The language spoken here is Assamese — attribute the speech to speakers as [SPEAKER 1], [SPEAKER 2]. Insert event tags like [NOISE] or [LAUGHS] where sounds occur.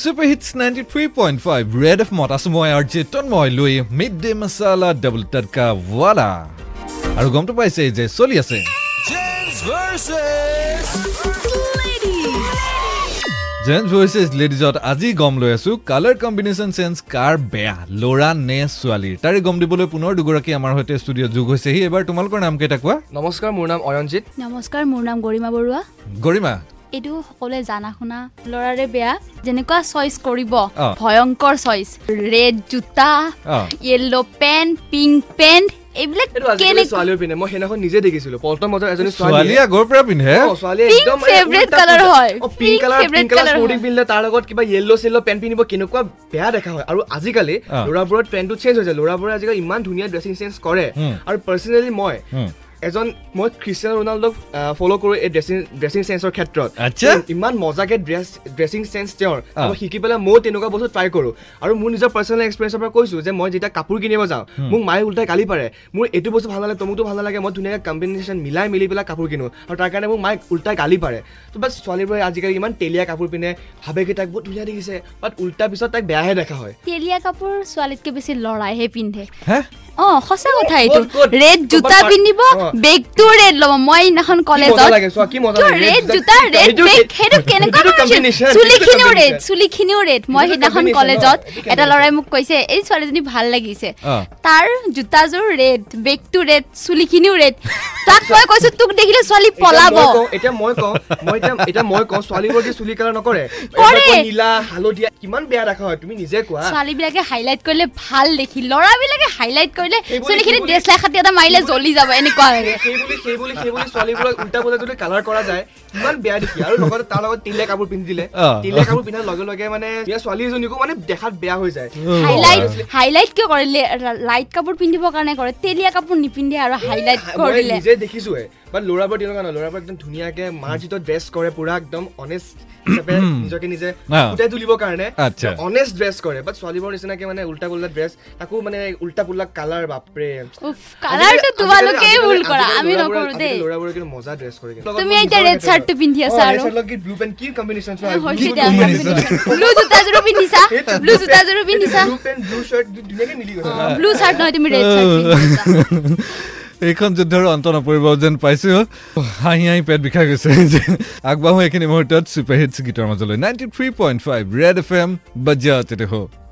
[SPEAKER 1] Super hits ninety three point five red F মত আছো মই আৰ জে তন্ময় লৈ মিড ডে মচালা ডাবল টাটকা ৱালা আৰু গমটো পাইছেই যে চলি আছে জেন্টছ ভাৰ্চেছ লেডিজত আজি গম লৈ আছো কালাৰ কম্বিনেশ্যন চেঞ্চ কাৰ বেয়া ল'ৰা নে ছোৱালীৰ তাৰে গম দিবলৈ পুনৰ দুগৰাকী আমাৰ সৈতে ষ্টুডিঅ'ত যোগ হৈছেহি এবাৰ তোমালোকৰ নামকেইটা কোৱা
[SPEAKER 2] নমস্কাৰ মোৰ নাম অয়নজিত
[SPEAKER 3] নমস্কাৰ মোৰ নাম গৰিমা বৰুৱা
[SPEAKER 1] গৰিমা
[SPEAKER 3] এইটো সকলোৱে জানা শুনা ল'ৰাৰে বেয়া যেনেকুৱা চইচ কৰিব
[SPEAKER 1] অ।
[SPEAKER 3] ভয়ংকৰ চইচ ৰেড জোতা
[SPEAKER 1] অ।
[SPEAKER 3] য়েল্ল' পেণ্ট পিংক পেণ্ট এইবিলাক
[SPEAKER 2] এইটো আজিকালি
[SPEAKER 3] কেনেকুৱা
[SPEAKER 2] ছোৱালীৰ পিন্ধে মই সেইদিনাখন নিজে দেখিছিলো পল্টন বজাৰ এজনী
[SPEAKER 1] ছোৱালী
[SPEAKER 2] ছোৱালীয়ে
[SPEAKER 1] আগৰ পৰা পিন্ধে
[SPEAKER 2] অ, ছোৱালীয়ে
[SPEAKER 3] Pink
[SPEAKER 2] একদম
[SPEAKER 3] favorite color হয়।
[SPEAKER 2] Pink
[SPEAKER 3] Pink
[SPEAKER 2] colour
[SPEAKER 3] favorite
[SPEAKER 2] pink colour
[SPEAKER 3] color
[SPEAKER 2] sporting
[SPEAKER 3] হয়।
[SPEAKER 2] পিন্ধিলে তাৰ লগত কিবা য়েল্ল' চেল্ল' পেণ্ট পিন্ধিব কেনেকুৱা বেয়া দেখা হয় আৰু আজিকালি
[SPEAKER 1] অ।
[SPEAKER 2] ল'ৰাবোৰৰ ট্ৰেণ্ডটো চেঞ্জ হৈছে ল'ৰাবোৰে আজিকালি ইমান ধুনীয়া ড্ৰেছিং চেঞ্জ কৰে
[SPEAKER 1] হুম।
[SPEAKER 2] আৰু পাৰ্চনেলি মই
[SPEAKER 1] হুম।
[SPEAKER 2] এজন মই ক্ৰিষ্টিয়ানো ৰনাল্ডক ফ'ল' কৰোঁ এই ড্ৰেছিং ড্ৰেছিং চেঞ্চৰ ক্ষেত্ৰত
[SPEAKER 1] আচ্ছা।
[SPEAKER 2] তেওঁ ইমান মজাকে ড্ৰেছ ড্ৰেছিং চেঞ্চ তেওঁৰ আৰু মই শিকি পেলাই ময়ো তেনেকুৱা বস্তু ট্ৰাই কৰোঁ আৰু মোৰ নিজৰ পাৰ্চনেল এক্সপিৰিয়েঞ্চৰ পৰা কৈছোঁ যে মই যেতিয়া কাপোৰ কিনিব যাওঁ মোক মায়ে উল্টাই গালি পাৰে মোৰ এইটো বস্তু ভাল নালাগে তমুকটো ভাল নালাগে মই ধুনীয়াকৈ কম্বিনেশ্যন মিলাই মিলি পেলাই কাপোৰ কিনো আৰু তাৰ কাৰণে মোক মায়ে উল্টাই গালি পাৰে তো বাট ছোৱালীবোৰে আজিকালি ইমান তেলীয়া কাপোৰ পিন্ধে ভাবে কি তাক বহুত ধুনীয়া দেখিছে বাট উল্টাৰ পিছত তাক বেয়াহে দেখা হয়
[SPEAKER 3] তেলীয়া কাপোৰ ছোৱালীতকে বেছি ল'ৰাইহে পিন্ধে
[SPEAKER 1] হে
[SPEAKER 3] অ সঁচা কথা এইটো
[SPEAKER 2] ক'ত, ক'ত?
[SPEAKER 3] ৰেড জোতা
[SPEAKER 2] ক'ৰবাত-
[SPEAKER 3] পিন্ধিব
[SPEAKER 2] অ।
[SPEAKER 3] বেগটো ৰেড ল'ব মই সেইদিনাখন কলেজত
[SPEAKER 2] লাগে, চোৱা, কি মজা
[SPEAKER 3] কিয়
[SPEAKER 2] লাগে,
[SPEAKER 3] ৰেড
[SPEAKER 2] ৰেড
[SPEAKER 3] জোতা
[SPEAKER 2] জোতা,
[SPEAKER 3] ৰেড
[SPEAKER 2] এইটো-
[SPEAKER 3] বেগ সেইটো কেনেকুৱা
[SPEAKER 2] এইটো
[SPEAKER 3] কম্বিনেশ্যন
[SPEAKER 2] combination, এইটো
[SPEAKER 3] চুলিখিনিও
[SPEAKER 2] combination।
[SPEAKER 3] ৰেড চুলিখিনিও ৰেড মই
[SPEAKER 2] এইটো
[SPEAKER 3] সেইদিনাখন
[SPEAKER 2] combination,
[SPEAKER 3] কলেজত
[SPEAKER 2] অ, এইটো
[SPEAKER 3] এটা
[SPEAKER 2] combination।
[SPEAKER 3] ল'ৰাই মোক কৈছে এই ছোৱালীজনী ভাল লাগিছে
[SPEAKER 1] অ।
[SPEAKER 3] তাৰ জোতাযোৰ ৰেড বেগটো ৰেড চুলিখিনিও ৰেড তাক মই কৈছো তোক দেখিলে ছোৱালী
[SPEAKER 2] এতিয়া
[SPEAKER 3] পলাব
[SPEAKER 2] মই কওঁ- এতিয়া মই কওঁ মই এতিয়া এতিয়া মই কওঁ ছোৱালীবোৰ যে চুলি কালাৰ নকৰে
[SPEAKER 3] কৰে।
[SPEAKER 2] এবাৰ কয় নীলা হালধীয়া কিমান বেয়া দেখা হয় তুমি নিজে কোৱা
[SPEAKER 3] ছোৱালীবিলাকে হাইলাইট কৰিলে ভাল দেখি ল'ৰাবিলাকে হাইলাইট কৰিলে
[SPEAKER 2] সেইবুলি-
[SPEAKER 3] চুলিখিনি
[SPEAKER 2] সেইবুলি-
[SPEAKER 3] ড্ৰেছ লাই খাটি এটা মাৰিলে জ্বলি যাব এনেকুৱা লাগে
[SPEAKER 2] সেইবুলি সেইবুলি সেইবুলি ছোৱালীবোৰক উল্টা পুল্টা যদি কালাৰ কৰা যায় ইমান বেয়া দেখি আৰু লগতে তাৰ লগত তিলীয়া কাপোৰ পিন্ধি দিলে
[SPEAKER 1] অ।
[SPEAKER 2] তিলীয়া কাপোৰ পিন্ধাৰ লগে লগে মানে ইয়াৰ ছোৱালী এজনীকো মানে দেখাত বেয়া হৈ যায়
[SPEAKER 3] হাইলাইট হাইলাইট কিয় কৰে লাইট কাপোৰ পিন্ধিবৰ কাৰণে কৰে তেলীয়া কাপোৰ নিপিন্ধে আৰু হাইলাইট
[SPEAKER 2] মই
[SPEAKER 3] কৰিলে
[SPEAKER 2] নিজে দেখিছোৱে বাট ল'ৰাবোৰ তেনেকুৱা নহয় ল'ৰাবোৰ একদম ধুনীয়াকে মাৰ্জিত ড্ৰেছ কৰে পুৰা একদম অনেষ্ট হিচাপে নিজকে নিজে
[SPEAKER 1] অ।
[SPEAKER 2] ফুটাই তুলিবৰ কাৰণে
[SPEAKER 1] আচ্ছা।
[SPEAKER 2] অনেষ্ট ড্ৰেছ কৰে বাট ছোৱালীবোৰৰ নিচিনাকে মানে উল্টা পুল্টা ড্ৰেছ তাকো মানে উল্টা পুল্টা কালাৰ বাপৰে
[SPEAKER 3] উফ, কালাৰটো
[SPEAKER 2] আজিকালি-
[SPEAKER 3] তোমালোকেই
[SPEAKER 2] আজিকালি-
[SPEAKER 3] ভুল কৰা
[SPEAKER 2] আজিকালি
[SPEAKER 3] আমি
[SPEAKER 2] ল'ৰাবোৰে-
[SPEAKER 3] নকৰো দেই
[SPEAKER 2] আজিকালি ল'ৰাবোৰে কিন্তু মজা dress কৰে কিন্তু।
[SPEAKER 3] তুমি
[SPEAKER 2] লগত
[SPEAKER 3] এতিয়া
[SPEAKER 2] নিজৰ
[SPEAKER 3] red
[SPEAKER 2] এটা
[SPEAKER 3] shirt টো পিন্ধি আছা
[SPEAKER 2] অ, red
[SPEAKER 3] আৰু।
[SPEAKER 2] shirt লগত কি blue pant, কি combination চোৱা, blue
[SPEAKER 3] হৈছে
[SPEAKER 2] pant
[SPEAKER 3] দিয়া
[SPEAKER 2] combination।
[SPEAKER 3] ব্লু জোতাযোৰো পিন্ধিছা
[SPEAKER 2] এইটো
[SPEAKER 3] ব্লু
[SPEAKER 2] blue pant,
[SPEAKER 3] জোতাযোৰো
[SPEAKER 2] এইটো
[SPEAKER 3] পিন্ধিছা
[SPEAKER 2] blue pant, blue shirt, দু- ধুনীয়াকে মিলি গৈছে।
[SPEAKER 3] ব্লু চাৰ্ট নহয় তুমি ৰেড চাৰ্ট পিন্ধিছা
[SPEAKER 1] [LAUGHS] এইখন যুদ্ধৰ অন্ত নপৰিব যেন পাইছোঁ হাঁহি হাঁহি পেট বিষাই গৈছে [LAUGHS] যে আগবাঢ়ো এইখিনি মুহূৰ্তত ছুপাৰ হিটছ গীতৰ মাজলৈ ninety three point five red F M বাজিয়া তেতে হ'